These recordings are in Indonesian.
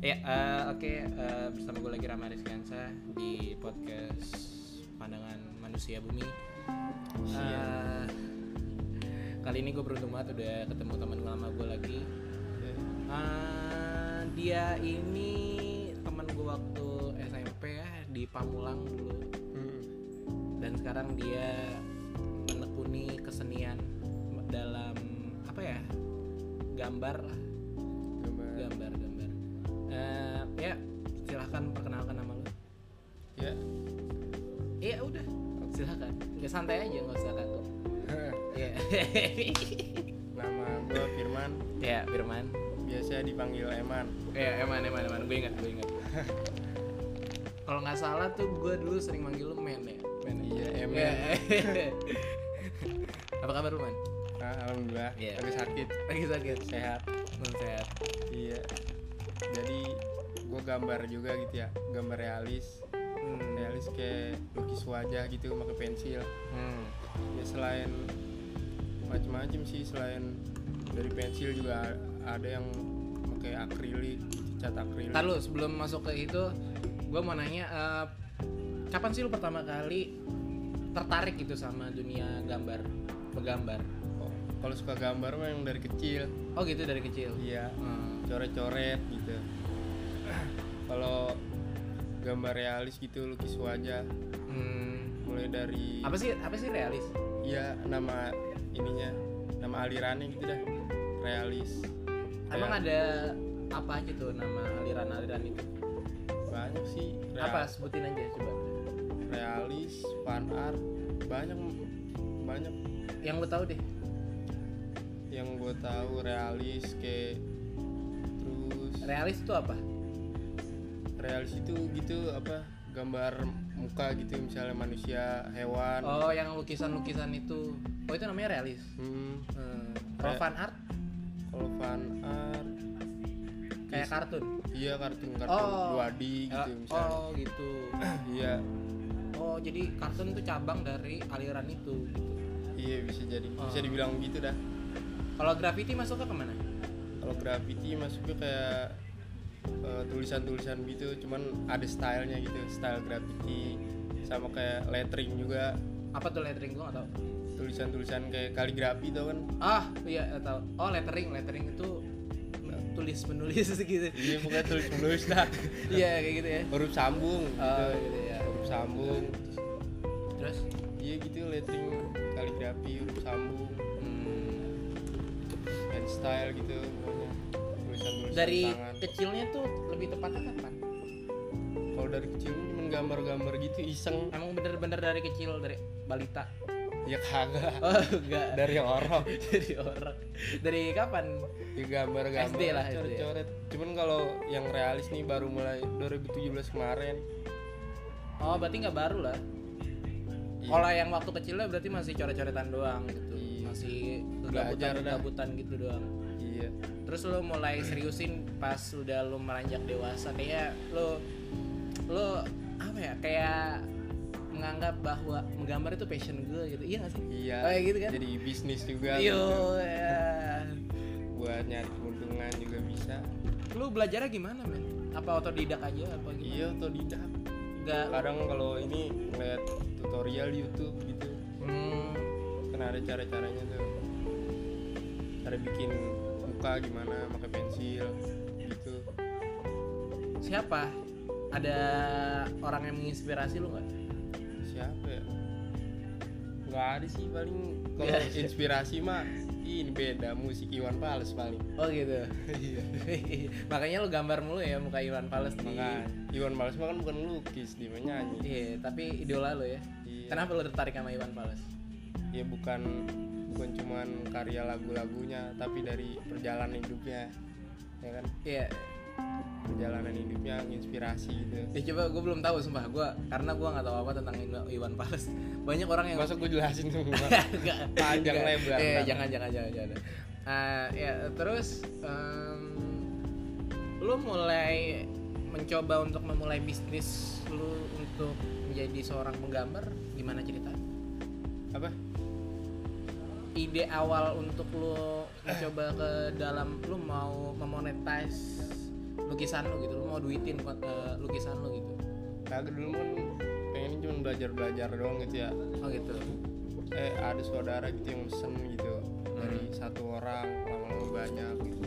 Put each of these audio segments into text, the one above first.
Ya, eh, oke eh, bersama gue lagi Rama Rizkansa di podcast Pandangan Manusia Bumi. Eh, kali ini gue beruntung banget udah ketemu teman lama gue lagi. Iya. Eh, dia ini teman gue waktu SMP ya di Pamulang dulu dan sekarang dia menekuni kesenian dalam apa ya gambar lah Gambar. gambar gambar Eh, ya silahkan perkenalkan nama lu Ya. iya udah silahkan nggak santai aja nggak usah kaku ya Nama gue Firman, ya Firman biasa dipanggil Eman. ya eman eman eman gue ingat gue ingat kalau nggak salah tuh gue dulu sering manggil lu men ya men Iya, Eman. Ya. apa kabar lu man Ah, alhamdulillah, Iya. lagi sakit, lagi sakit sehat. Lu sehat Iya. Jadi gue gambar juga gitu ya, gambar realis, Hmm. realis kayak lukis wajah gitu, pakai pensil. Hmm. Ya selain macam-macam sih, selain dari pensil juga ada yang pakai akrilik, cat akrilik. Ntar lu sebelum masuk ke itu, gue mau nanya, eh, kapan sih lu pertama kali tertarik gitu sama dunia gambar, penggambar? Oh, Kalau suka gambar mah yang dari kecil. Oh gitu dari kecil. Iya. Hmm. coret-coret gitu kalau gambar realis gitu lukis wajah Hmm. mulai dari Apa sih apa sih realis? ya nama ininya nama alirannya gitu dah realis Emang Real- ada apa aja tuh nama aliran-aliran itu? banyak sih real- Apa sebutin aja coba. realis fan art banyak banyak Yang lu tahu deh. yang gue tahu realis kayak terus Realis itu apa? realis itu gitu apa gambar muka gitu misalnya manusia hewan Oh, yang lukisan-lukisan itu. Oh, itu namanya realis. Hmm, Hmm. Kalau Re- fan art kalau fan art kayak kartun. Iya kartun kartun Oh. 2D gitu Eh, misalnya. oh, gitu. Iya, Oh, jadi kartun itu cabang dari aliran itu gitu. iya bisa jadi bisa Oh. dibilang gitu dah. Kalau graffiti masuknya kemana? Kalau graffiti masuknya kayak eh, tulisan-tulisan gitu, cuman ada stylenya gitu, style graffiti sama kayak lettering juga, Apa tuh lettering gua atau? tulisan-tulisan kayak kaligrafi tau kan? Ah, iya atau oh lettering, lettering itu men- tulis menulis gitu. Iya pokoknya tulis menulis dah. Iya kayak gitu ya. Huruf sambung, Oh, gitu. gitu ya. huruf sambung. Terus Iya gitu lettering kaligrafi huruf sambung, hmm, hand style gitu pokoknya tulisan-tulisan dari tangan. kecilnya tuh lebih tepatnya kapan? Kalau dari kecil cuma gambar-gambar gitu iseng. Emang bener-bener dari kecil dari balita? Ya kagak. Oh, enggak. Dari orang. Dari orang. Dari kapan? Ya gambar-gambar. SD lah, SD. Coret-coret. Cuman kalau yang realis nih baru mulai 2017 kemarin. Oh, berarti nggak baru lah. Iya. Kalau yang waktu kecilnya berarti masih coret-coretan doang gitu. Iya. Masih Belajar dah. kegabutan-kegabutan gitu doang. Iya. Terus lo mulai seriusin pas udah lo meranjak dewasa kayak lo lo apa ya kayak menganggap bahwa menggambar itu passion gue gitu. Iya gak sih? Iya. Oh, ya gitu kan? Iya. Jadi bisnis juga Yo, gitu. ya. buat nyari keuntungan juga bisa. Lo belajarnya gimana men? Apa otodidak aja apa gimana? Iya, otodidak. Gak. Kadang kalau ini ngeliat tutorial di YouTube gitu, Hmm, kan ada cara-caranya tuh. Cara bikin muka gimana pakai pensil gitu. siapa? Ada orang yang menginspirasi lo nggak? siapa ya nggak ada sih paling kalau Nggak ada. inspirasi mah ini beda musik Iwan Fals paling Oh gitu. Iya. Makanya lo gambar mulu ya muka Iwan Fals di. maka Iwan Fals mah kan bukan lukis dia mah nyanyi Iya, tapi idola lo ya. Iya. Kenapa lo tertarik sama Iwan Fals? ya bukan bukan cuman karya lagu-lagunya tapi dari perjalanan hidupnya ya kan Iya. perjalanan hidupnya menginspirasi gitu Ya coba gue belum tahu sumpah gue karena gue nggak tahu apa tentang Iwan- Iwan Fals. Banyak orang yang masa gue jelasin semua Nggak, Panjang nggak. lebar, Iya, ntar. jangan jangan jangan jangan. Ah, ya terus em, lu mulai mencoba untuk memulai bisnis lu untuk menjadi seorang penggambar gimana cerita? apa ide awal untuk lu mencoba ke dalam lu mau memonetize lukisan lu gitu lu mau duitin eh, lukisan lu gitu kagak dulu kan pengen cuma belajar belajar doang gitu ya oh gitu eh ada saudara gitu yang pesen gitu dari satu orang lama-lama banyak gitu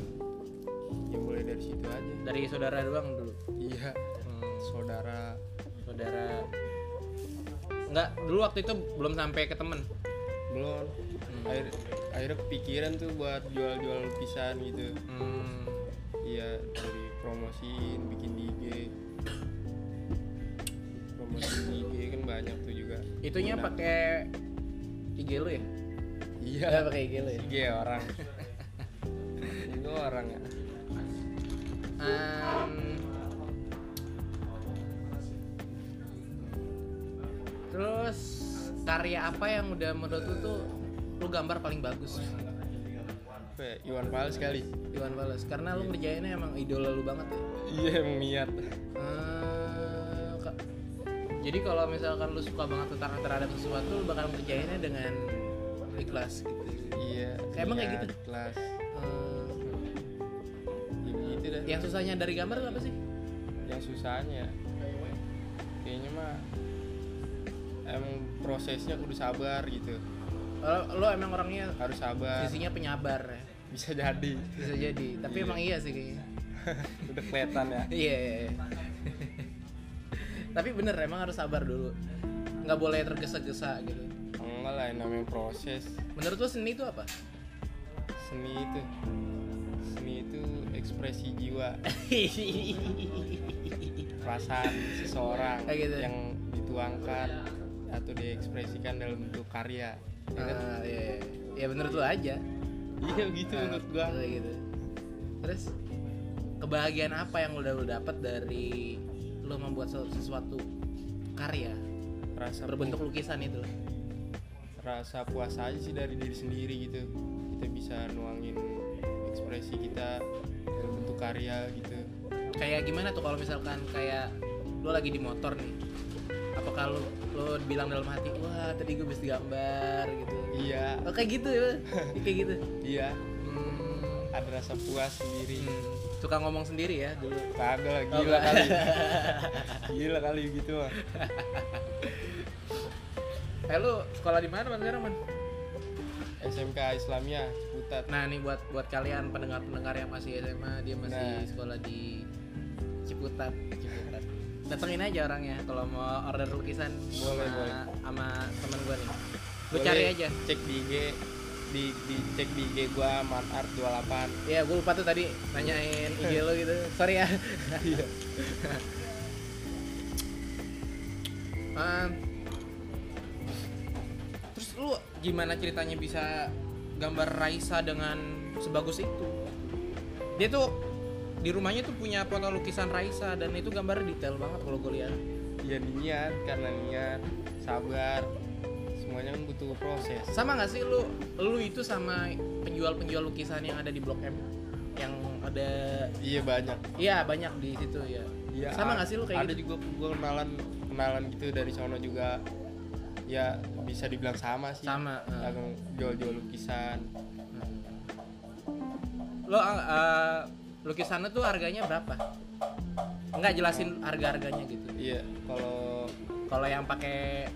ya mulai dari situ aja dari saudara doang dulu Hmm, iya saudara saudara nggak dulu waktu itu belum sampai ke temen belum akhir akhirnya kepikiran tuh buat jual-jual lukisan gitu Hmm, iya dari promosiin bikin di IG promosi di IG kan banyak tuh juga itunya pakai IG lu ya iya Nggak pakai IG lu ya IG orang itu orang ya Um, terus karya apa yang udah menurut lu tuh lu gambar paling bagus Apa ya, Iwan Fals kali Iwan Fals karena lu ngerjainnya emang idola lu banget ya. iya emang niat Eh, ka- jadi kalau misalkan lu suka banget tentang terhadap sesuatu lu bakal ngerjainnya dengan ikhlas gitu. iya Kayak emang kayak niat, gitu. kelas Eh, ya gitu dah yang susahnya dari gambar tuh apa sih? yang susahnya kayaknya mah emang prosesnya kudu sabar gitu Lo, lo emang orangnya harus sabar sisinya penyabar ya. bisa jadi Bisa jadi, tapi emang iya sih kayaknya. udah kelihatan ya Iya. iya, iya. Tapi bener emang harus sabar dulu. Nggak boleh tergesa-gesa gitu. enggak lah yang namanya proses Menurut lo seni itu apa? seni itu seni itu ekspresi jiwa Ah, iya, perasaan seseorang Kayak gitu. yang dituangkan atau diekspresikan dalam bentuk karya ya kan? Ah, iya, iya. Ya menurut lo aja. iya gitu menurut gua Kayak gitu. Terus kebahagiaan apa yang lo udah lo dapat dari lo membuat sesu- sesuatu karya rasa berbentuk lukisan itu? rasa puas aja sih dari diri sendiri gitu kita bisa nuangin ekspresi kita dalam bentuk karya gitu Kayak gimana tuh kalau misalkan kayak lo lagi di motor nih? Apa kalau lo bilang dalam hati, wah tadi gue bisa gambar gitu? iya Oh kayak gitu ya, kayak gitu. iya Hmm, ada rasa puas sendiri hmm, suka ngomong sendiri ya dulu. kagak lah Oh, gila enggak. kali gila kali gitu mah Eh lu sekolah di mana man sekarang man? SMK Islamia Ciputat Nah ini buat buat kalian pendengar-pendengar yang masih SMA dia masih Nah. sekolah di Ciputat. Eh, Ciputat. Datengin aja orangnya kalau mau order lukisan Boleh, sama, boleh. sama temen gue nih. Lu Boleh cari aja. cek di IG di, di cek di IG gua Manart 28 Iya gue lupa tuh tadi nanyain IG lo gitu. Sorry ya. iya Em, terus lu gimana ceritanya bisa gambar Raisa dengan sebagus itu? Dia tuh di rumahnya tuh punya foto lukisan Raisa dan itu gambar detail banget kalau gue lihat. iya niat karena niat sabar semuanya kan butuh proses Sama nggak sih lu lu itu sama penjual-penjual lukisan yang ada di Blok M yang ada iya banyak iya banyak di situ ya. Iya, Sama a- nggak sih lu kayak ada gitu? juga gue kenalan kenalan gitu dari sono juga ya bisa dibilang sama sih Sama. eh. yang jual-jual lukisan lo eh, lukisannya tuh harganya berapa? Enggak jelasin harga-harganya gitu. iya kalau Kalau yang pakai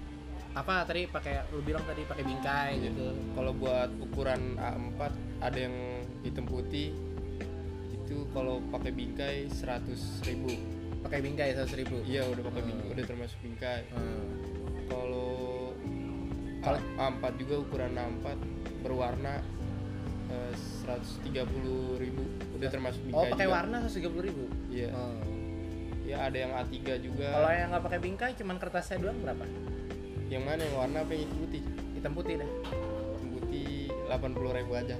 apa tadi pakai lu bilang tadi pakai bingkai Iya. gitu. kalau buat ukuran A4 ada yang hitam putih itu kalau pakai bingkai 100.000 ribu Pakai bingkai 100.000. ribu. iya udah pakai Hmm. bingkai udah termasuk bingkai Hmm. kalau Kalau- A- A4 juga ukuran A4 berwarna eh, 130.000 ribu udah termasuk Oh, bingkai pakai juga. warna Oh, 130.000. ribu. iya Ya ada yang A3 juga. Kalau yang nggak pakai bingkai cuman kertasnya doang berapa? Yang mana yang warna apa yang hitam putih? Hitam putih dah. Hitam putih 80 ribu aja.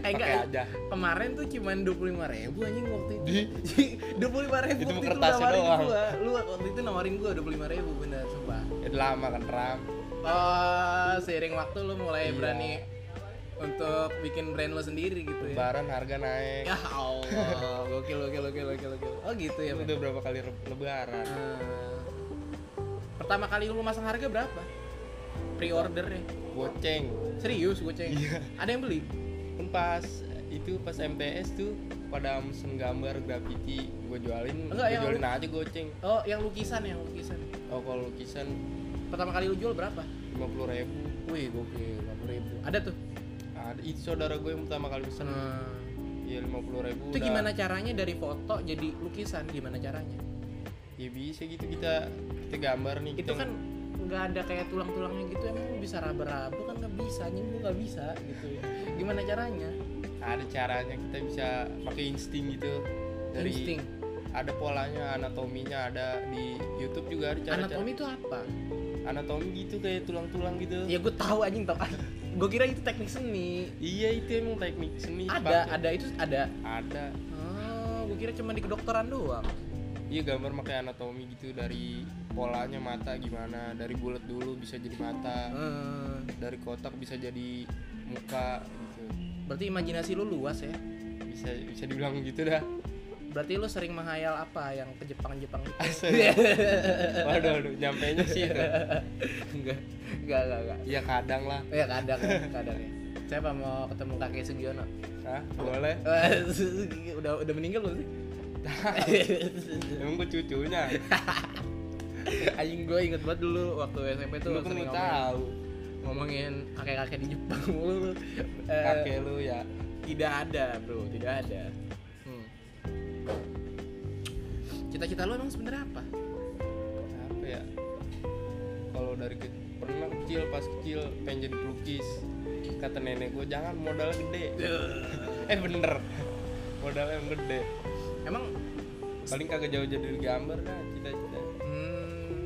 Eh Pakai enggak. aja. Kemarin tuh cuman 25.000 anjing waktu itu. 25.000 Itu waktu lu kertasnya nawarin doang. gua. Lu waktu itu nawarin gua 25.000 bener sumpah. Ya udah lama kan ram. Iya. Oh, seiring waktu lu mulai Iya. berani untuk bikin brand lo sendiri gitu ya. Lebaran harga naik. Ya Allah, gokil gokil gokil gokil gokil. Oh gitu ya. Itu Bang. udah berapa kali re- lebaran? Eh, pertama kali lu masang harga berapa? ya? Pre-ordernya. Goceng. Serius gue ceng. Ada yang beli? Kan pas itu pas MTS tuh pada mesen gambar graffiti gue jualin Enggak, gue yang jualin lu- aja goceng oh yang lukisan yang lukisan oh kalau lukisan pertama kali lu jual berapa lima puluh ribu wih gokil lima ribu ada tuh ada itu saudara gue yang pertama kali pesen ya lima puluh ribu itu gimana caranya dari foto jadi lukisan gimana caranya ya bisa gitu kita kita gambar nih itu kita- kan nggak ada kayak tulang-tulangnya gitu emang lu bisa raba-raba kan nggak bisa anjing lu nggak bisa gitu gimana caranya ada caranya kita bisa pakai insting gitu dari insting ada polanya anatominya ada di YouTube juga ada cara anatomi itu apa anatomi gitu kayak tulang-tulang gitu ya gue tahu anjing tau gue kira itu teknik seni iya itu emang teknik seni ada pakai- ada itu ada ada oh gue kira cuma di kedokteran doang iya gambar pakai anatomi gitu dari polanya mata gimana dari bulat dulu bisa jadi mata Eh, dari kotak bisa jadi muka gitu berarti imajinasi lu luas ya bisa bisa dibilang gitu dah berarti lu sering menghayal apa yang ke Jepang-Jepang gitu? Asli. waduh waduh nyampainya sih itu enggak enggak enggak enggak ya kadang lah ya kadang kadang ya saya apa mau ketemu kakek Sugiono Hah, boleh udah udah meninggal belum sih emang gue cucunya anjing gue inget banget dulu waktu SMP tuh lu kan sering ngomongin, mau tahu ngomongin kakek-kakek di Jepang mulu lu. Eh, kakek lu ya tidak ada bro tidak ada Hmm. cita-cita lu emang sebenarnya apa apa ya kalau dari ke- pernah kecil pas kecil pengen jadi pelukis kata nenek gue jangan modalnya gede eh bener modalnya yang gede emang paling kagak jauh jadi gambar dah cita-cita hmm,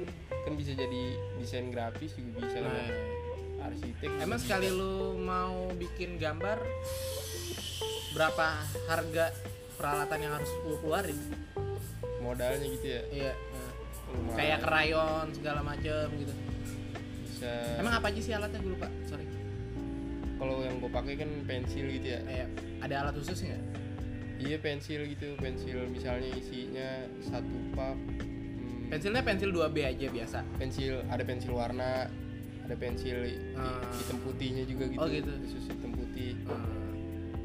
kan bisa jadi desain grafis juga bisa kan nah, arsitek emang juga sekali bisa. lu mau bikin gambar berapa harga peralatan yang harus lu keluarin modalnya gitu ya iya lumayan. kayak krayon segala macem gitu bisa emang apa aja sih alatnya gue lupa sorry kalau yang gue pakai kan pensil gitu ya kayak ada alat khusus nggak iya pensil gitu pensil misalnya isinya satu hmm, pak pensilnya pensil 2B aja biasa pensil ada pensil warna ada pensil i- Ah. hitam putihnya juga gitu, Oh, gitu. khusus hitam putih Hmm,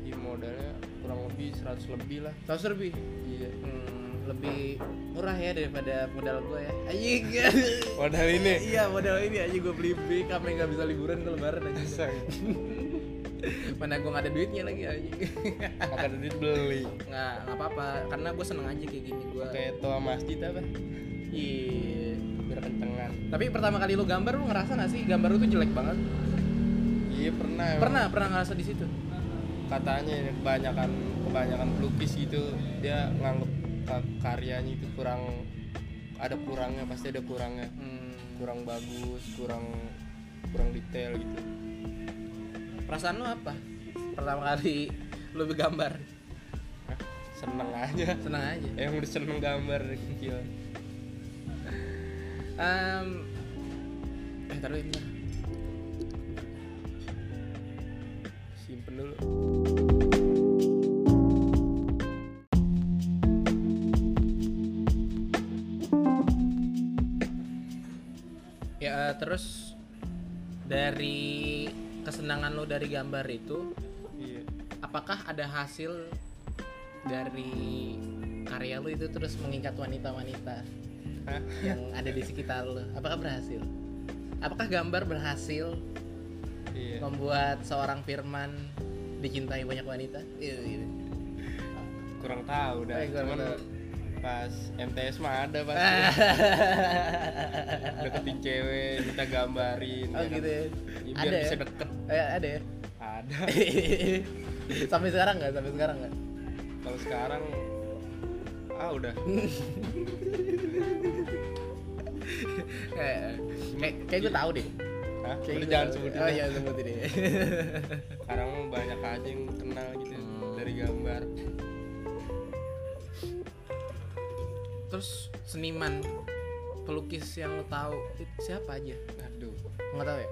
Iya, modalnya kurang lebih 100 lebih lah Tahu serbi? iya Hmm, lebih murah ya daripada modal gue ya. Anjing. modal ini iya, modal ini aja gue beli big sampai nggak bisa liburan ke lebaran aja. Mana gue nggak ada duitnya lagi aja. kakak ada duit beli nggak nggak apa-apa karena gue seneng aja kayak gini gue. kayak toa masjid apa Iya. biar kencengan Tapi pertama kali lu gambar lu ngerasa nggak sih gambar lu tuh jelek banget? iya pernah emang. Pernah pernah ngerasa di situ? katanya ini kebanyakan kebanyakan pelukis gitu dia nganggep ka- karyanya itu kurang ada kurangnya pasti ada kurangnya Hmm, kurang bagus kurang kurang detail gitu perasaan lu apa? Pertama kali lu gambar Hah? seneng aja seneng aja. Emang udah seneng gambar dari kecil Em, eh taruh ini. bentar. Simpen dulu Ya eh, terus dari kesenangan lo dari gambar itu, Iya apakah ada hasil dari karya lo itu terus mengikat wanita-wanita Hah? yang ada di sekitar lo? Apakah berhasil? Apakah gambar berhasil Iya membuat seorang Firman dicintai banyak wanita? Iya, gitu. Kurang tahu dah Eh, kurang Cuman tahu. pas MTS mah ada pasti Deketin cewek minta gambarin Oh ya kan? gitu ya. Ya, Biar Ada ya? bisa deket Eh, ada ya. Ada sampai sekarang nggak? Sampai sekarang nggak? Kalau sekarang Ah udah Hmm. kayak kayak, kayak gue tahu deh Hah? Kayak Udah gua jangan tahu. sebutin oh, dah. jangan sebutin deh Sekarang mah banyak aja yang kenal gitu Hmm. Dari gambar terus seniman pelukis yang lo tahu itu siapa aja Aduh nggak tahu ya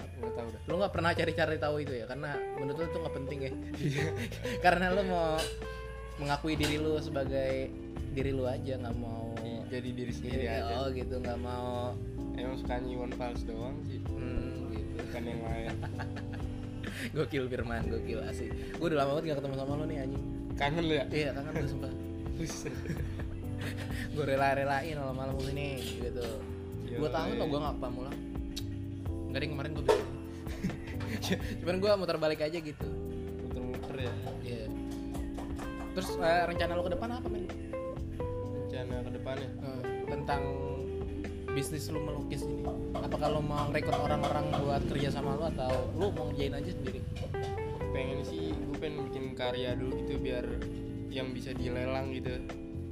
Aku gak tau dah lo nggak pernah cari-cari tahu itu ya karena menurut lo itu nggak penting ya karena lo mau mengakui diri lo sebagai diri lo aja nggak mau Jadi diri sendiri aja oh gitu nggak mau Emang suka nyiwon fals doang sih hmm, gitu Bukan yang lain gokil Firman gokil asik gue udah lama banget nggak ketemu sama lo nih anjing kangen lu ya iya kangen gue sumpah Buset. gue rela-relain malam-malam kesini gitu dua Yoi. tahun loh gue nggak ke Pamulang nggak deh kemarin gue bisa cuman gue muter balik aja gitu muter-muter ya Iya. terus eh, rencana lo ke depan apa men rencana ke ya. depannya Eh, tentang bisnis lu melukis ini apakah lo mau rekrut orang-orang buat kerja sama lo atau lo mau ngerjain aja sendiri pengen sih gue pengen bikin karya dulu gitu biar yang bisa dilelang gitu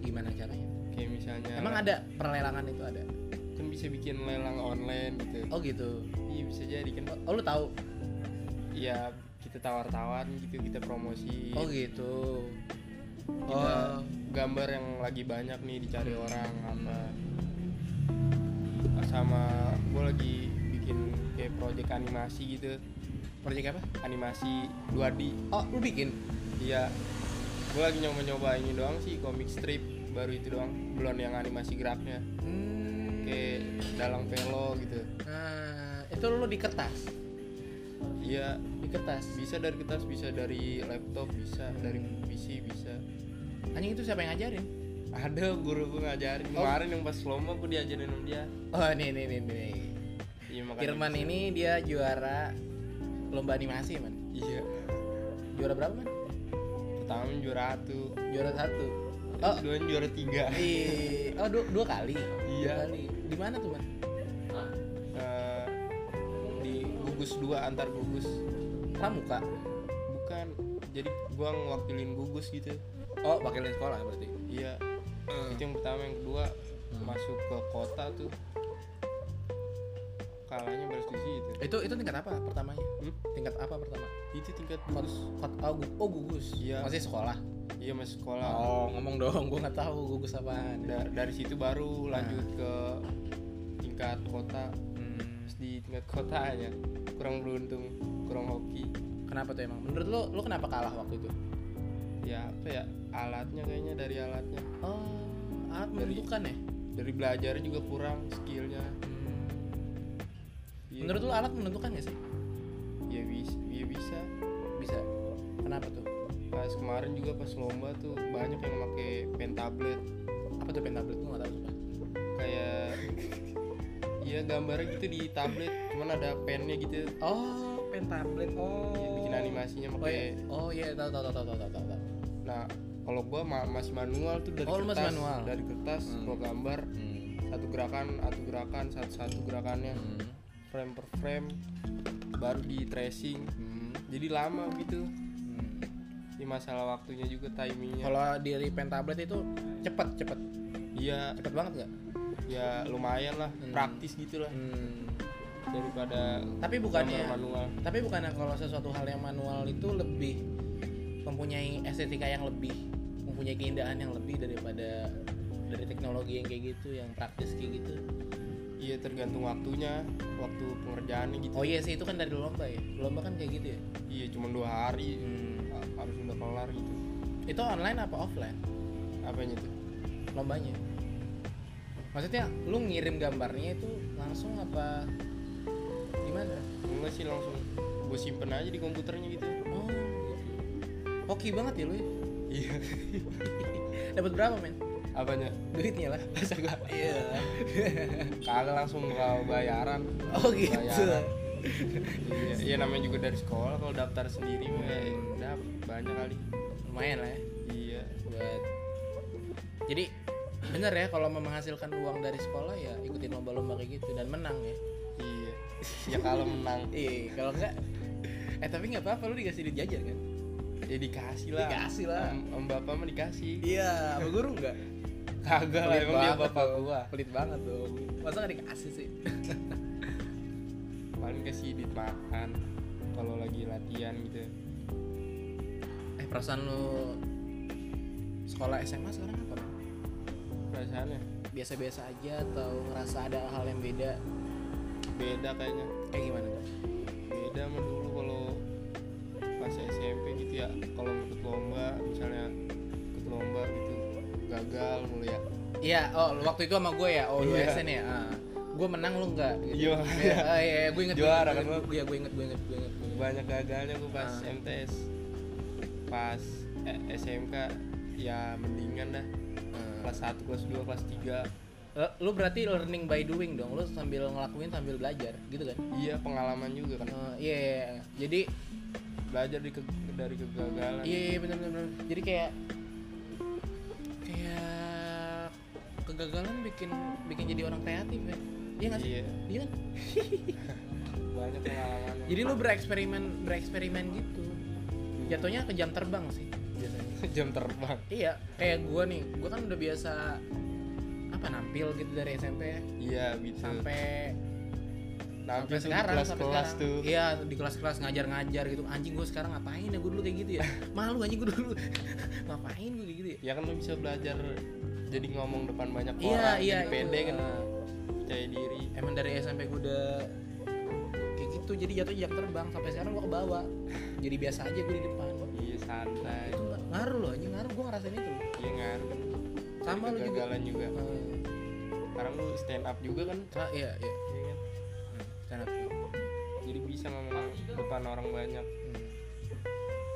gimana caranya kayak misalnya emang ada perlelangan itu ada kan bisa bikin lelang online gitu oh gitu iya bisa jadi kan oh lo tahu ya kita tawar-tawaran gitu kita promosi oh gitu kita oh Hmm. gambar yang lagi banyak nih dicari orang apa sama gue lagi bikin kayak project animasi gitu proyek apa animasi 2D oh lu bikin iya gue lagi nyoba-nyoba ini doang sih komik strip baru itu doang belum yang animasi geraknya hmm. kayak dalang velo gitu Nah, itu lu di kertas iya di kertas bisa dari kertas bisa dari laptop bisa dari PC bisa anjing itu siapa yang ngajarin ada guru gue ngajarin Oh. kemarin yang pas lomba gue diajarin sama dia oh nih nih nih nih iya makanya Firman ya? bisa. ini dia juara lomba animasi man iya juara berapa man pertama juara satu juara satu oh. oh dua juara tiga di oh dua, dua kali Iya. dua kali di mana tuh man Eh, di gugus dua antar gugus pramuka bukan jadi gua ngewakilin gugus gitu oh wakilin sekolah berarti iya itu yang pertama yang kedua masuk ke kota tuh kalahnya baris di situ itu itu tingkat apa pertamanya Hmm? tingkat apa pertama itu tingkat Kot, gugus kot, oh, gu- oh, gugus Iya. masih sekolah iya masih sekolah oh ngomong dong gua nggak tahu gugus apaan Da- dari situ baru lanjut ke tingkat kota Hmm. Terus di tingkat kota aja kurang beruntung kurang hoki Kenapa tuh emang? Menurut lo, lo kenapa kalah waktu itu? ya apa ya alatnya kayaknya dari alatnya Oh, alat menentukan ya? dari belajar juga kurang skillnya Hmm, Iya. Menurut lo alat menentukan gak sih? ya bisa ya bisa Bisa. Kenapa tuh? pas kemarin juga pas lomba tuh banyak yang pakai pen tablet Apa tuh pen tablet? Gue gak tau sumpah. kayak iya gambarnya gitu di tablet cuman ada pennya gitu Oh, pen tablet. Oh. Ya, bikin animasinya Oh iya, pakai oh iya, tau tau tau tau tau tau tau. nah kalau gua ma- masih manual tuh dari Oh, lu masih kertas manual. dari kertas Hmm. gua gambar Hmm. satu gerakan satu gerakan satu satu gerakannya frame per frame baru di tracing Hmm. jadi lama gitu ini masalah waktunya juga timingnya Kalau dari pen tablet itu cepet cepet iya cepet banget nggak? ya lumayan lah Hmm. praktis gitu lah Hmm. daripada Tapi bukannya gambar manual tapi bukannya kalau sesuatu hal yang manual itu lebih mempunyai estetika yang lebih mempunyai keindahan yang lebih daripada dari teknologi yang kayak gitu yang praktis kayak gitu iya tergantung waktunya waktu pengerjaannya gitu oh iya sih itu kan dari lomba ya lomba kan kayak gitu ya iya cuma dua hari ha- harus udah kelar gitu itu online apa offline apanya tuh lombanya maksudnya lu ngirim gambarnya itu langsung apa gimana enggak sih langsung gue simpen aja di komputernya gitu oh hoki banget ya lu ya iya dapat berapa men apanya duitnya lah masa gak iya kagak langsung kalau bayaran oh gitu Bayaran. iya iya namanya juga dari sekolah kalau daftar sendiri mah ya udah banyak kali lumayan lah ya iya buat jadi bener ya kalau mau menghasilkan uang dari sekolah ya ikutin lomba-lomba kayak gitu dan menang ya iya ya kalau menang eh kalau enggak eh tapi nggak apa-apa lu dikasih duit jajan kan ya dikasih lah Dikasih lah. Om- om bapak mah dikasih iya sama guru enggak kagak lah pelit emang dia banget bapak dong. gua pelit banget dong masa nggak dikasih sih paling kasih duit makan kalau lagi latihan gitu eh perasaan lu sekolah SMA sekarang apa Bang? perasaannya biasa-biasa aja atau ngerasa ada hal yang beda beda kayaknya kayak gimana tuh beda sama dulu kalau pas SMP gitu ya kalau ikut lomba misalnya ikut lomba gitu gagal mulu ya Iya, oh lu waktu itu sama gue ya, oh lu Iya. SN ya. ah. gue menang lu enggak Iya. Iya, ah, iya, iya, gue inget. Juara kan gue. Iya, gue inget, gue inget, gue inget. gua inget. banyak gagalnya gue pas Ah. MTS pas eh, SMK ya mendingan dah kelas 1, kelas 2, kelas 3 Ah. Eh, lu berarti learning by doing dong lu sambil ngelakuin sambil belajar gitu kan iya pengalaman juga kan Eh, iya iya, iya. jadi belajar di ke- dari kegagalan iya iya, bener bener bener. jadi kayak kayak kegagalan bikin bikin jadi orang kreatif ya iya nggak sih Iya. iya kan banyak pengalaman jadi lu bereksperimen bereksperimen gitu jatuhnya ke jam terbang sih biasanya jam terbang iya kayak gua nih gua kan udah biasa apa nampil gitu dari SMP ya iya gitu sampai Nampil tuh di sekarang sampai kelas-kelas sekarang. tuh iya di kelas-kelas ngajar-ngajar gitu anjing gue sekarang ngapain ya gue dulu kayak gitu ya malu anjing gue dulu ngapain gue kayak gitu ya ya kan lu bisa belajar jadi ngomong depan banyak Iya, orang iya, jadi pede iya. kan percaya diri emang dari SMP gue udah kayak gitu jadi jatuh jam terbang sampai sekarang gue ke bawah jadi biasa aja gue di depan iya santai itu nggak- ngaruh loh anjing ngaruh gue ngerasain itu iya kan sama lu juga kegagalan juga sekarang lu stand up juga kan Eh, ah, iya iya Iya kan? stand up. Hmm. jadi bisa ngomong depan orang banyak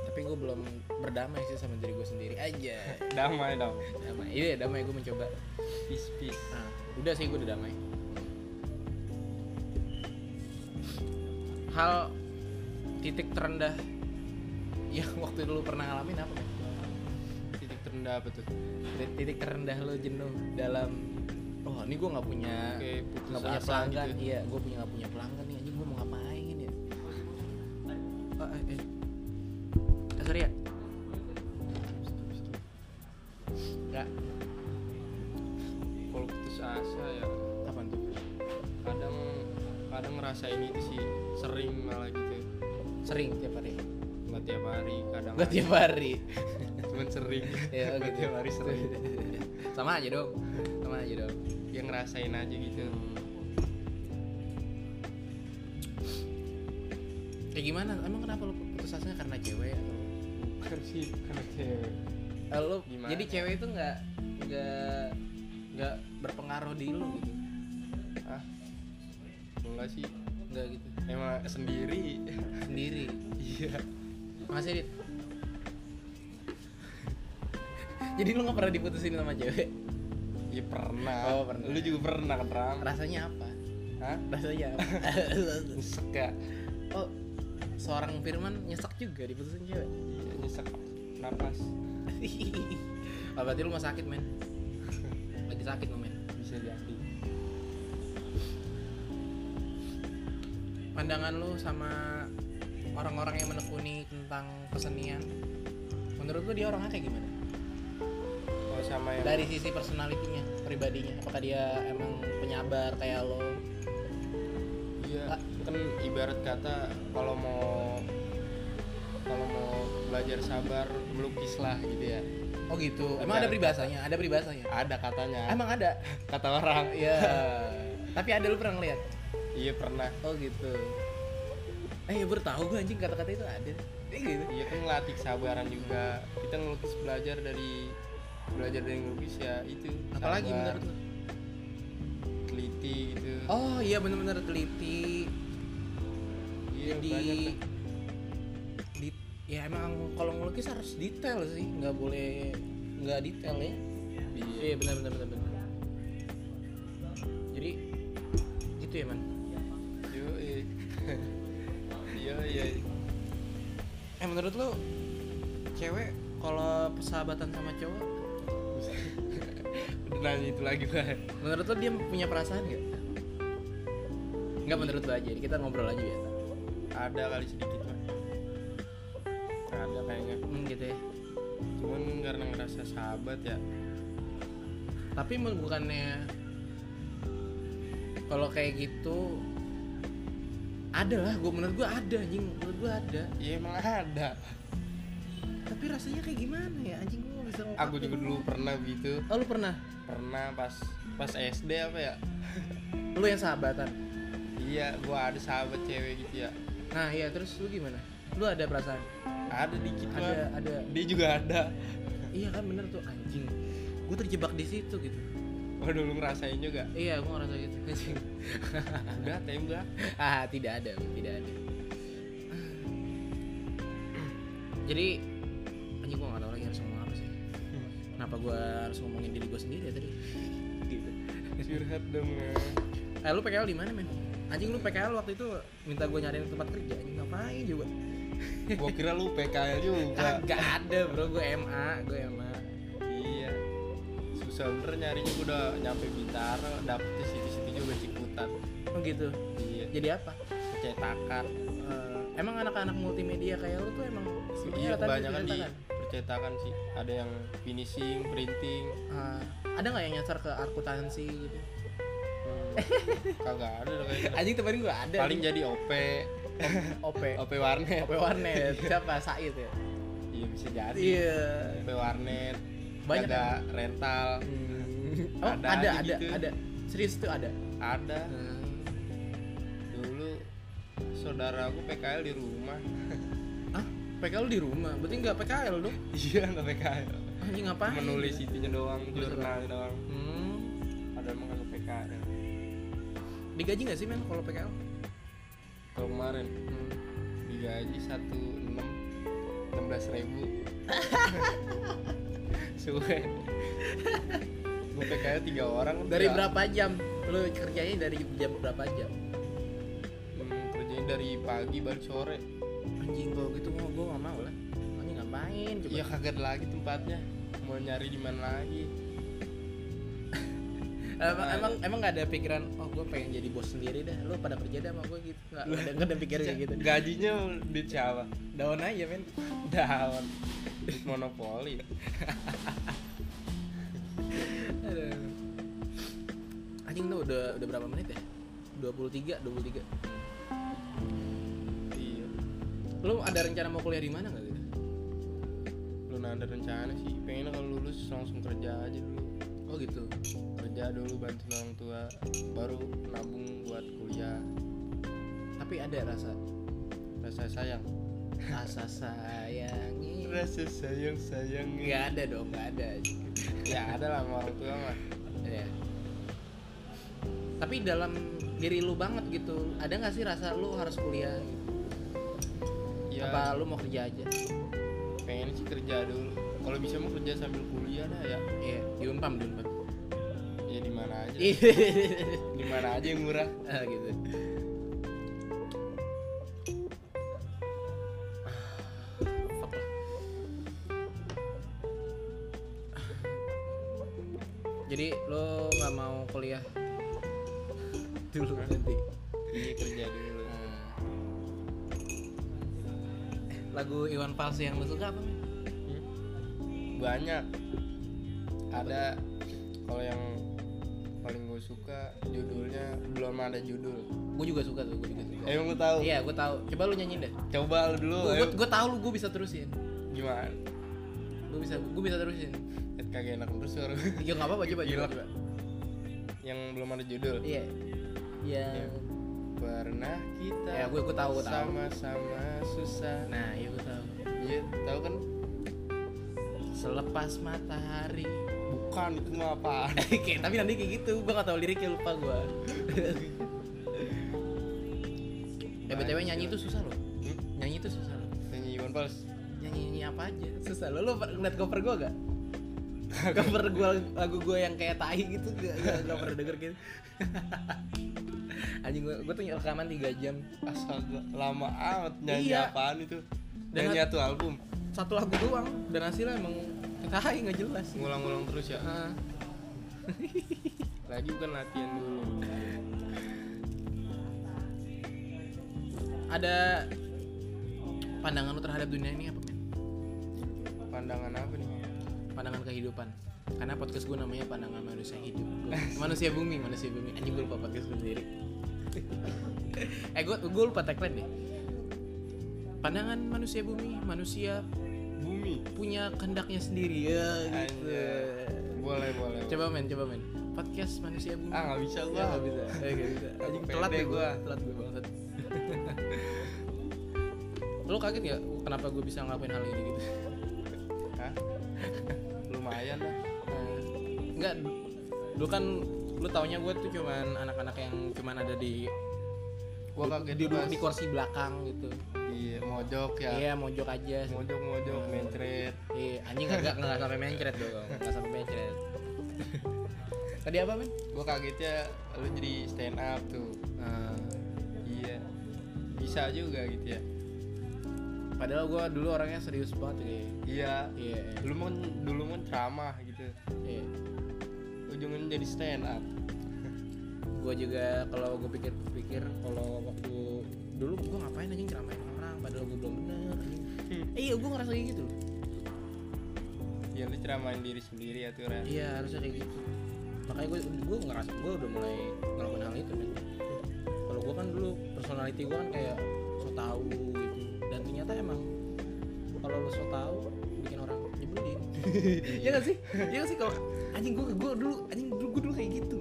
tapi gue belum berdamai sih sama diri gue sendiri aja damai dong damai iya damai gue mencoba peace peace Nah, udah sih gue udah damai. Hal titik terendah yang waktu dulu pernah ngalamin apa? Mek? titik terendah apa tuh Titik- Titik terendah lo jenuh dalam oh ini gue nggak punya Kayak putus nggak punya asa pelanggan gitu. iya gue punya nggak punya pelanggan nih anjing gue mau ngapain ya Ah, eh, eh. Ah, sorry ya nggak kalau putus asa ya kapan tuh kadang kadang ngerasain itu sih sering malah gitu sering tiap hari nggak tiap hari kadang nggak tiap hari cuman sering ya Nggak gitu tiap hari sering sama aja dong sama aja dong yang ngerasain aja gitu kayak Ya, gimana emang kenapa lo putus asanya karena cewek atau bukan sih karena cewek Eh, lo Gimana? jadi cewek itu nggak nggak nggak berpengaruh di lo gitu ah enggak sih nggak gitu emang sendiri sendiri iya masih dit jadi lo nggak pernah diputusin sama cewek iya pernah Oh, pernah. lu juga pernah kan Ram rasanya apa Hah? rasanya apa nyesek ya oh seorang Firman nyesek juga diputusin cewek iya nyesek napas oh, berarti lu mah sakit men lagi sakit lo men bisa jadi pandangan lu sama orang-orang yang menekuni tentang kesenian menurut lu dia orangnya kayak gimana oh sama yang dari sisi personalitinya pribadinya apakah dia emang penyabar kayak lo Iya, Ah. kan ibarat kata kalau mau kalau mau belajar sabar melukis lah gitu ya. oh gitu emang ada peribahasanya ada peribahasanya Ada katanya. emang ada Kata orang. ya tapi ada lu pernah ngeliat Iya pernah. oh gitu eh ya bertahu gue anjing kata-kata itu ada eh gitu Iya kan ngelatih kesabaran juga. Kita ngelukis belajar dari belajar dari ngelukis ya itu. apalagi sabar, menurut lu teliti gitu. oh iya bener-bener teliti iya banyak jadi lah. di- ya emang kalau ngelukis harus detail sih nggak boleh nggak detail ya Iya. iya benar benar benar benar jadi gitu ya man Yoi. Iya iya. eh menurut lo cewek kalau persahabatan sama cowok Udah nanya itu lagi lah. menurut lo dia punya perasaan gak? nggak menurut lo aja kita ngobrol aja ya. biasa Ada kali sedikit lah. Ada kayaknya. hmm, gitu ya cuman karena ngerasa sahabat ya tapi emang bukannya kalau kayak gitu ada lah gue menurut gue ada anjing menurut gue ada ya emang ada tapi rasanya kayak gimana ya anjing gue nggak bisa ngungkapin. aku juga dulu pernah gitu oh lu pernah pernah pas pas SD apa ya lu yang sahabatan iya gua ada sahabat cewek gitu ya nah iya terus lu gimana lu ada perasaan ada dikit ada lah ada dia juga ada iya kan bener tuh anjing gue terjebak di situ gitu waduh lu ngerasain juga iya gue ngerasa gitu anjing udah tembak ah tidak ada tidak ada jadi anjing gue nggak tahu lagi kenapa gue harus ngomongin diri gue sendiri ya tadi gitu curhat dong ya eh lu PKL di mana men anjing lu PKL waktu itu minta gue nyariin tempat kerja anjing ngapain juga gua kira lu PKL juga kagak ada bro gue MA gue MA iya susah bener nyarinya gua udah nyampe Bintaro dapetnya situ-situ juga Ciputat oh gitu iya jadi apa percetakan Eh, emang anak-anak multimedia kayak lu tuh emang semuanya iya rata-rata kebanyakan di diciptakan? percetakan sih ada yang finishing printing Eh, ada nggak yang nyasar ke akuntansi gitu hmm, kagak ada loh kayaknya anjing temen gue ada paling jadi OP OP OP warnet OP warnet siapa Said ya iya bisa jadi iya OP warnet Banyak ada rental Hmm. Oh, Ada ada ada aja ada, gitu. serius tuh ada ada dulu saudara aku PKL di rumah ah PKL di rumah berarti nggak PKL dong iya nggak PKL anjing ngapain menulis itunya doang Menulis jurnal doang hmm. ada emang nggak PKL digaji nggak sih men kalau PKL kalau kemarin hmm. digaji satu enam enam belas ribu suwe gue PKL tiga orang dari udah. berapa jam lu kerjanya dari jam berapa jam Hmm, kerjanya dari pagi balik sore anjing gua gitu mau gua nggak mau lah anjing ngapain coba iya kaget lagi tempatnya mau nyari di mana lagi Eh, emang emang emang nggak ada pikiran oh gua pengen jadi bos sendiri dah lu pada kerja dah sama gua gitu nggak nggak ada nggak ada pikiran kayak gitu gajinya duit siapa daun aja men daun Duit monopoli Aduh. anjing tuh udah udah berapa menit ya 23 23 iya lu ada rencana mau kuliah di mana nggak gitu belum ada rencana sih pengen kalau lulus langsung kerja aja dulu oh gitu kerja dulu bantu orang tua baru nabung buat kuliah tapi ada rasa rasa sayang rasa sayangnya rasa sayang sayang nggak ada dong nggak ada ya ada lah sama orang tua mah ya. tapi dalam diri lu banget gitu ada nggak sih rasa lu harus kuliah gitu? ya apa lu mau kerja aja pengen sih kerja dulu kalau bisa mau kerja sambil kuliah dah ya iya diumpam diumpam ya di mana aja ah di mana aja yang murah gitu Fuck lah. Jadi lo nggak mau kuliah dulu nanti. iya kerja dulu Lagu Iwan Fals yang lo suka apa? Min? Hmm. banyak ada kalau yang paling gue suka judulnya belum ada judul Gue juga suka tuh, gue juga suka. emang gue tahu Iya, gue tahu. Coba lu nyanyiin deh. coba lu dulu Gue Oh, ayo. gue tahu lu gue bisa terusin. gimana Gue bisa gue bisa terusin. Eh, kagak enak terus suara gua. Ya nggak apa-apa coba coba. Gila. coba. yang belum ada judul Iya. Iya. pernah kita Ya gue gue tahu gue tahu. sama-sama susah Nah, iya gue tahu. iya tahu kan Selepas matahari. Eh, bukan itu mah apaan Kayak- tapi nanti kayak gitu, gue gak tahu liriknya lupa gue. eh btw nyanyi itu susah loh. Hmm? Nyanyi itu susah loh. nyanyi Iwan Fals Nyanyi nyanyi apa aja? Susah loh. Lo ngeliat cover gue gak? cover gue lagu gue yang kayak tai gitu gak, gak, gak pernah denger gitu. Anjing gue, gue tuh rekaman 3 jam asal lama amat nyanyi Iya. apaan itu Dan nyanyi satu album satu lagu doang dan hasilnya emang tai nggak jelas. ngulang-ngulang terus ya Ah. lagi bukan latihan dulu ada pandangan lu terhadap dunia ini apa men? pandangan apa nih Pandangan kehidupan. Karena podcast gue namanya pandangan manusia hidup. Gua- manusia bumi, manusia bumi. Anjing gue lupa podcast gue sendiri. eh gue gue lupa tagline deh. Pandangan manusia bumi, manusia bumi punya kehendaknya sendiri ya gitu. Anjay. boleh boleh Coba men, coba men. Podcast manusia bumi. ah nggak bisa Ya, gua nggak bisa. Eh, nggak bisa. Aku Anjing pede telat deh gue. gua. Telat gue banget. Lo kaget nggak kenapa gue bisa ngelakuin hal ini gitu? Hah? lumayan lah Enggak, lu kan lu taunya gue tuh cuman anak-anak yang cuman ada di gua kaget duduk pas di kursi belakang gitu. iya mojok ya Iya, mojok aja. mojok mojok mencret Iya, anjing agak nggak sampai mencret dong, nggak sampai mencret. Tadi apa men? gue kagetnya lu jadi stand up tuh Eh, iya bisa juga gitu ya padahal gue dulu orangnya serius banget ya. iya Iya, iya, lu kan dulu kan ceramah gitu iya. ujungnya jadi stand up Gue juga kalau gue pikir-pikir kalau waktu dulu gue ngapain anjing ceramahin orang padahal gue belum bener. Hmm. Eh, iya, gue ngerasa kayak gitu. loh. ya lu ceramahin diri sendiri ya tuh Ren. Iya, harusnya kayak gitu. Makanya gue gue ngerasa gue udah mulai ngelakuin hal itu men. Kalau gue kan dulu personality gue kan kayak so tau gitu. Dan ternyata emang kalau lo so tau bikin orang nyebelin. Iya gak sih? Iya gak sih kalau anjing gue gue dulu anjing dulu gue dulu kayak gitu.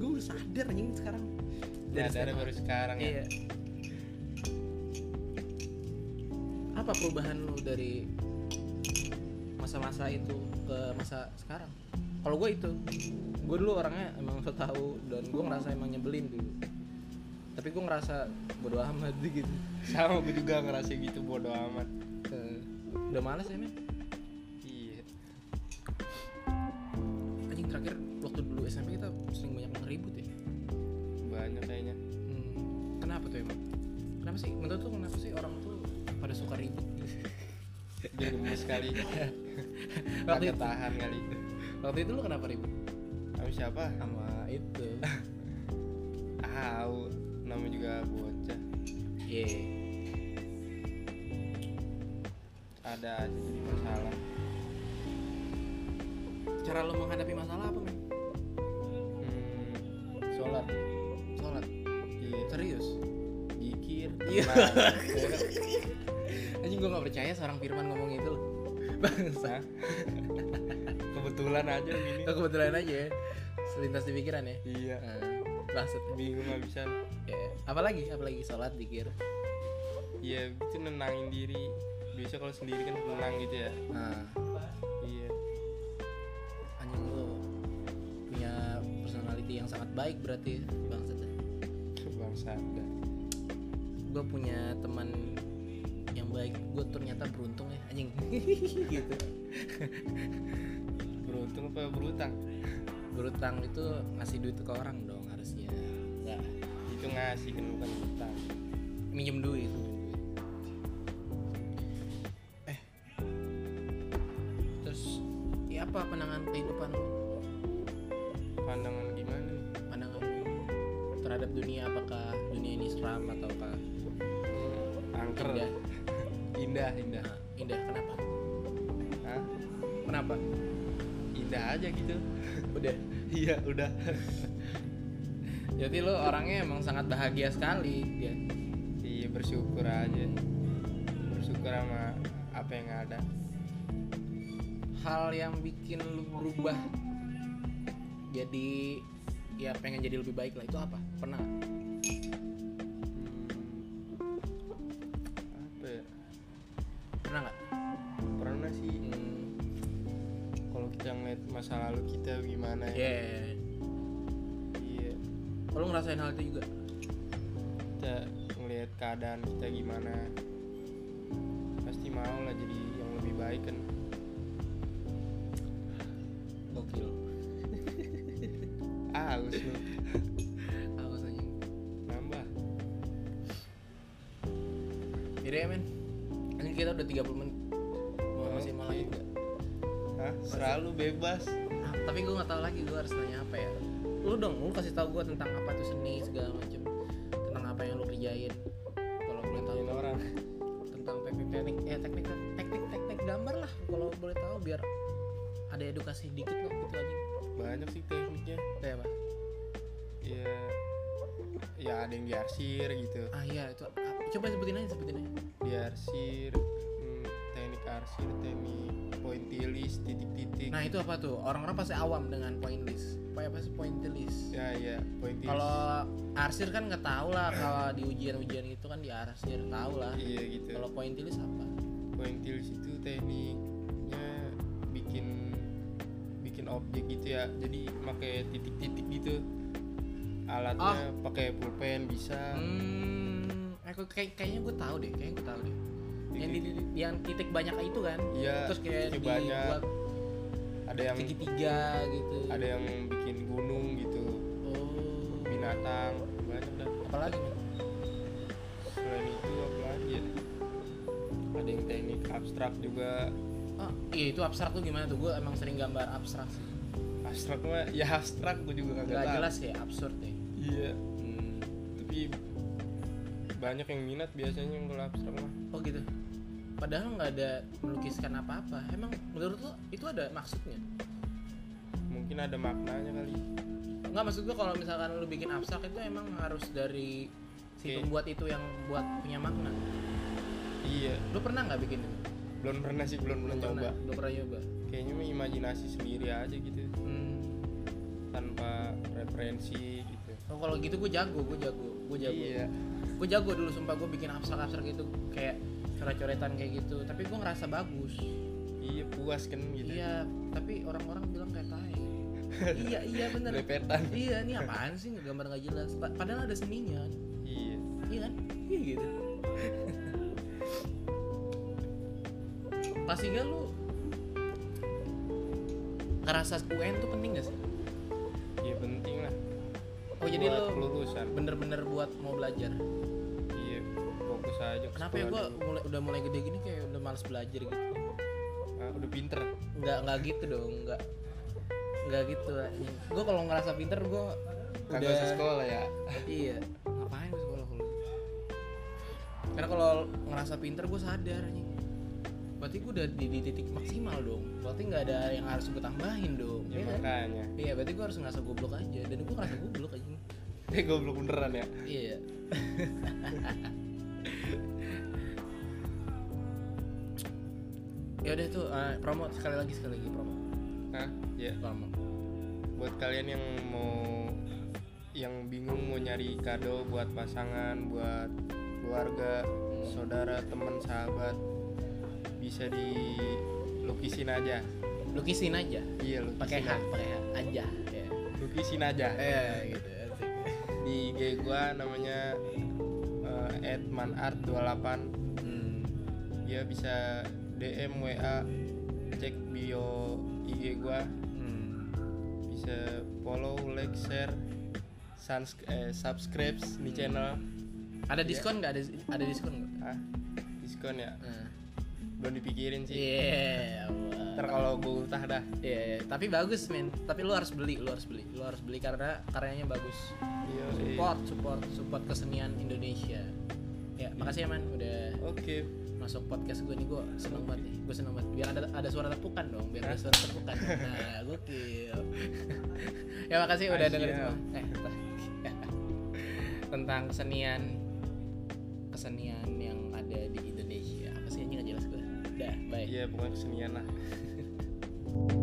Gue udah sadar anjing sekarang. Nah, dari stand up. baru sekarang ya Iya. Apa perubahan lu dari masa-masa itu ke masa sekarang? Kalau gue itu, gue dulu orangnya emang so tau dan gue ngerasa emang nyebelin dulu. Tapi gue ngerasa bodo amat gitu. sama gue juga ngerasa gitu bodo amat Eh, udah males ya men. iya Anjing terakhir waktu dulu SMP kita sering banyak banget ribut ya. banyak kayaknya Hmm, kenapa tuh emang? Kenapa sih? Menurut tuh kenapa sih orang tuh pada suka ribut? biar gemes kali Waktu Agak itu. tahan kali Waktu itu lu kenapa ribut? Tapi siapa? Sama itu. Au Namanya juga bocah Iya. Ada aja jadi masalah Cara lo menghadapi masalah apa, men? hmm, Sholat Sholat. Iya Serius? Jikir Iya. tenang. Anjing gue gak percaya seorang Firman ngomong itu loh. Bangsa. Hah? Kebetulan aja gini Oh, kebetulan aja ya. Selintas di pikiran ya. Iya Nah, Bangsat. Bingung habisan Ya. Apalagi? Apalagi sholat, dikir. Iya itu nenangin diri Biasa kalau sendiri kan tenang gitu ya Nah, Iya anjing lo punya personality yang sangat baik berarti ya, bangsat. Bangsa ada Gue punya teman yang baik. Gue ternyata beruntung ya, anjing. gitu. Beruntung apa berutang? Berutang itu ngasih duit ke orang dong harusnya. Enggak. Itu ngasih kan bukan utang minjem duit eh terus ya apa pandangan kehidupan lu? Pandangan gimana nih? pandangan lu terhadap dunia apakah dunia ini seram ataukah angker indah indah indah Nah, indah kenapa Hah? kenapa indah aja gitu udah iya udah jadi lo orangnya emang sangat bahagia sekali ya iya bersyukur aja bersyukur sama apa yang ada hal yang bikin lu berubah jadi ya pengen jadi lebih baik lah itu apa pernah Hmm, apa ya pernah nggak pernah sih hmm, kalau kita ngeliat masa lalu kita gimana ya ya iya Lo ngerasain hal itu juga? kita ngeliat keadaan kita gimana pasti mau lah jadi yang lebih baik kan Gokil ah harus lu Aku saja nambah Jadi ya men Ini kita udah 30 menit Mau Oh, masih mau lanjut iya. nggak? Hah? selalu bebas Ah, Tapi gue gak tahu lagi gue harus nanya apa ya Lu dong, lu kasih tahu gue tentang apa tuh seni segala macem Tentang apa yang lu kerjain Kalau boleh tahu Ini orang tentang teknik teknik eh teknik teknik teknik gambar lah kalau boleh tahu biar ada edukasi dikit lah gitu aja banyak sih tekniknya kayak apa ya ya ada yang diarsir gitu ah iya itu ah, coba sebutin aja sebutin aja Iya. diarsir hmm, teknik arsir teknik pointilis titik-titik nah itu apa tuh orang-orang pasti awam dengan point list apa apa sih point list ya ya pointilis Kalau arsir kan nggak tahu lah kalau di ujian-ujian itu kan di arsir tahu lah. iya gitu Kalau pointilis apa? pointilis itu tekniknya bikin bikin objek gitu ya jadi pakai Ah. titik-titik gitu alatnya pakai pulpen bisa Hmm, eh gue kayak- kayaknya gue tahu deh kayaknya gue tahu deh yang di, Titik- di- yang titik banyak itu kan Iya, terus kayak titik dibuat banyak. ada yang segitiga gitu ada yang bikin gunung gitu oh binatang banyak dah apalagi nih selain itu apa lagi ya ada yang teknik abstrak juga ah, iya itu abstrak tuh gimana tuh gue emang sering gambar abstrak sih abstrak mah ya abstrak gue juga kagak nggak tahu. jelas ya absurd ya iya hmm. tapi banyak yang minat biasanya yang kalau abstrak mah oh gitu padahal nggak ada melukiskan apa-apa emang menurut lo itu ada maksudnya mungkin ada maknanya kali nggak maksud gue kalau misalkan lu bikin abstrak itu emang harus dari si Oke. pembuat itu yang buat punya makna iya lu pernah nggak bikin itu belum pernah sih belum pernah Belum coba pernah, belum pernah nyoba kayaknya mah imajinasi sendiri aja gitu hmm. tanpa referensi gitu Oh, kalau gitu gue jago gue jago gue jago iya gue jago dulu sumpah gue bikin abstrak abstrak gitu kayak coret-coretan kayak gitu tapi gue ngerasa bagus iya puas kan gitu iya tapi orang-orang bilang kayak tai iya iya bener Belepetan. iya ini apaan sih gambar nggak jelas Pa- padahal ada seninya iya iya kan iya gitu pasti gak lu ngerasa UN tuh penting gak sih iya penting lah oh jadi Buat lu kelulusan bener-bener buat mau belajar iya fokus aja ke kenapa ya sekolah gue dulu. mulai, udah mulai gede gini kayak udah males belajar gitu Ah, udah pinter nggak nggak gitu dong nggak nggak gitu gue kalau ngerasa pinter gue kagak usah udah sekolah ya iya ngapain gue sekolah kalau gitu? karena kalau ngerasa pinter gue sadar anjing berarti gue udah di, di titik maksimal dong berarti nggak ada yang harus gue tambahin dong ya iya kan? makanya iya berarti gue harus ngerasa goblok aja dan gue ngerasa goblok aja eh goblok beneran ya iya ya udah tuh eh, promo sekali lagi sekali lagi promo Hah? ya promo buat kalian yang mau yang bingung mau nyari kado buat pasangan buat keluarga saudara teman sahabat bisa dilukisin aja lukisin aja iya lukisin pakai hak pakai hak aja ya. lukisin aja eh gitu asik. di IG gua namanya eh, @manart28 hmm. dia bisa DM WA cek bio IG gua Hmm. bisa follow like share sans eh, subscribe di channel ada diskon nggak ada ada diskon nggak ah diskon ya Nah. belum dipikirin sih Iya, Allah. ntar kalau gue utah dah Iya, iya. tapi bagus men. Tapi lu harus beli, lu harus beli, lu harus beli karena karyanya bagus. iya Support, support, support kesenian Indonesia. Ya, makasih ya man udah oke masuk podcast gue nih gue seneng banget nih gue seneng banget biar ada ada suara tepukan dong biar ada suara tepukan nah gokil ya makasih udah Asyik. dengerin semua eh, tentang kesenian kesenian yang ada di Indonesia apa sih ini nggak jelas gue dah bye iya pokoknya kesenian lah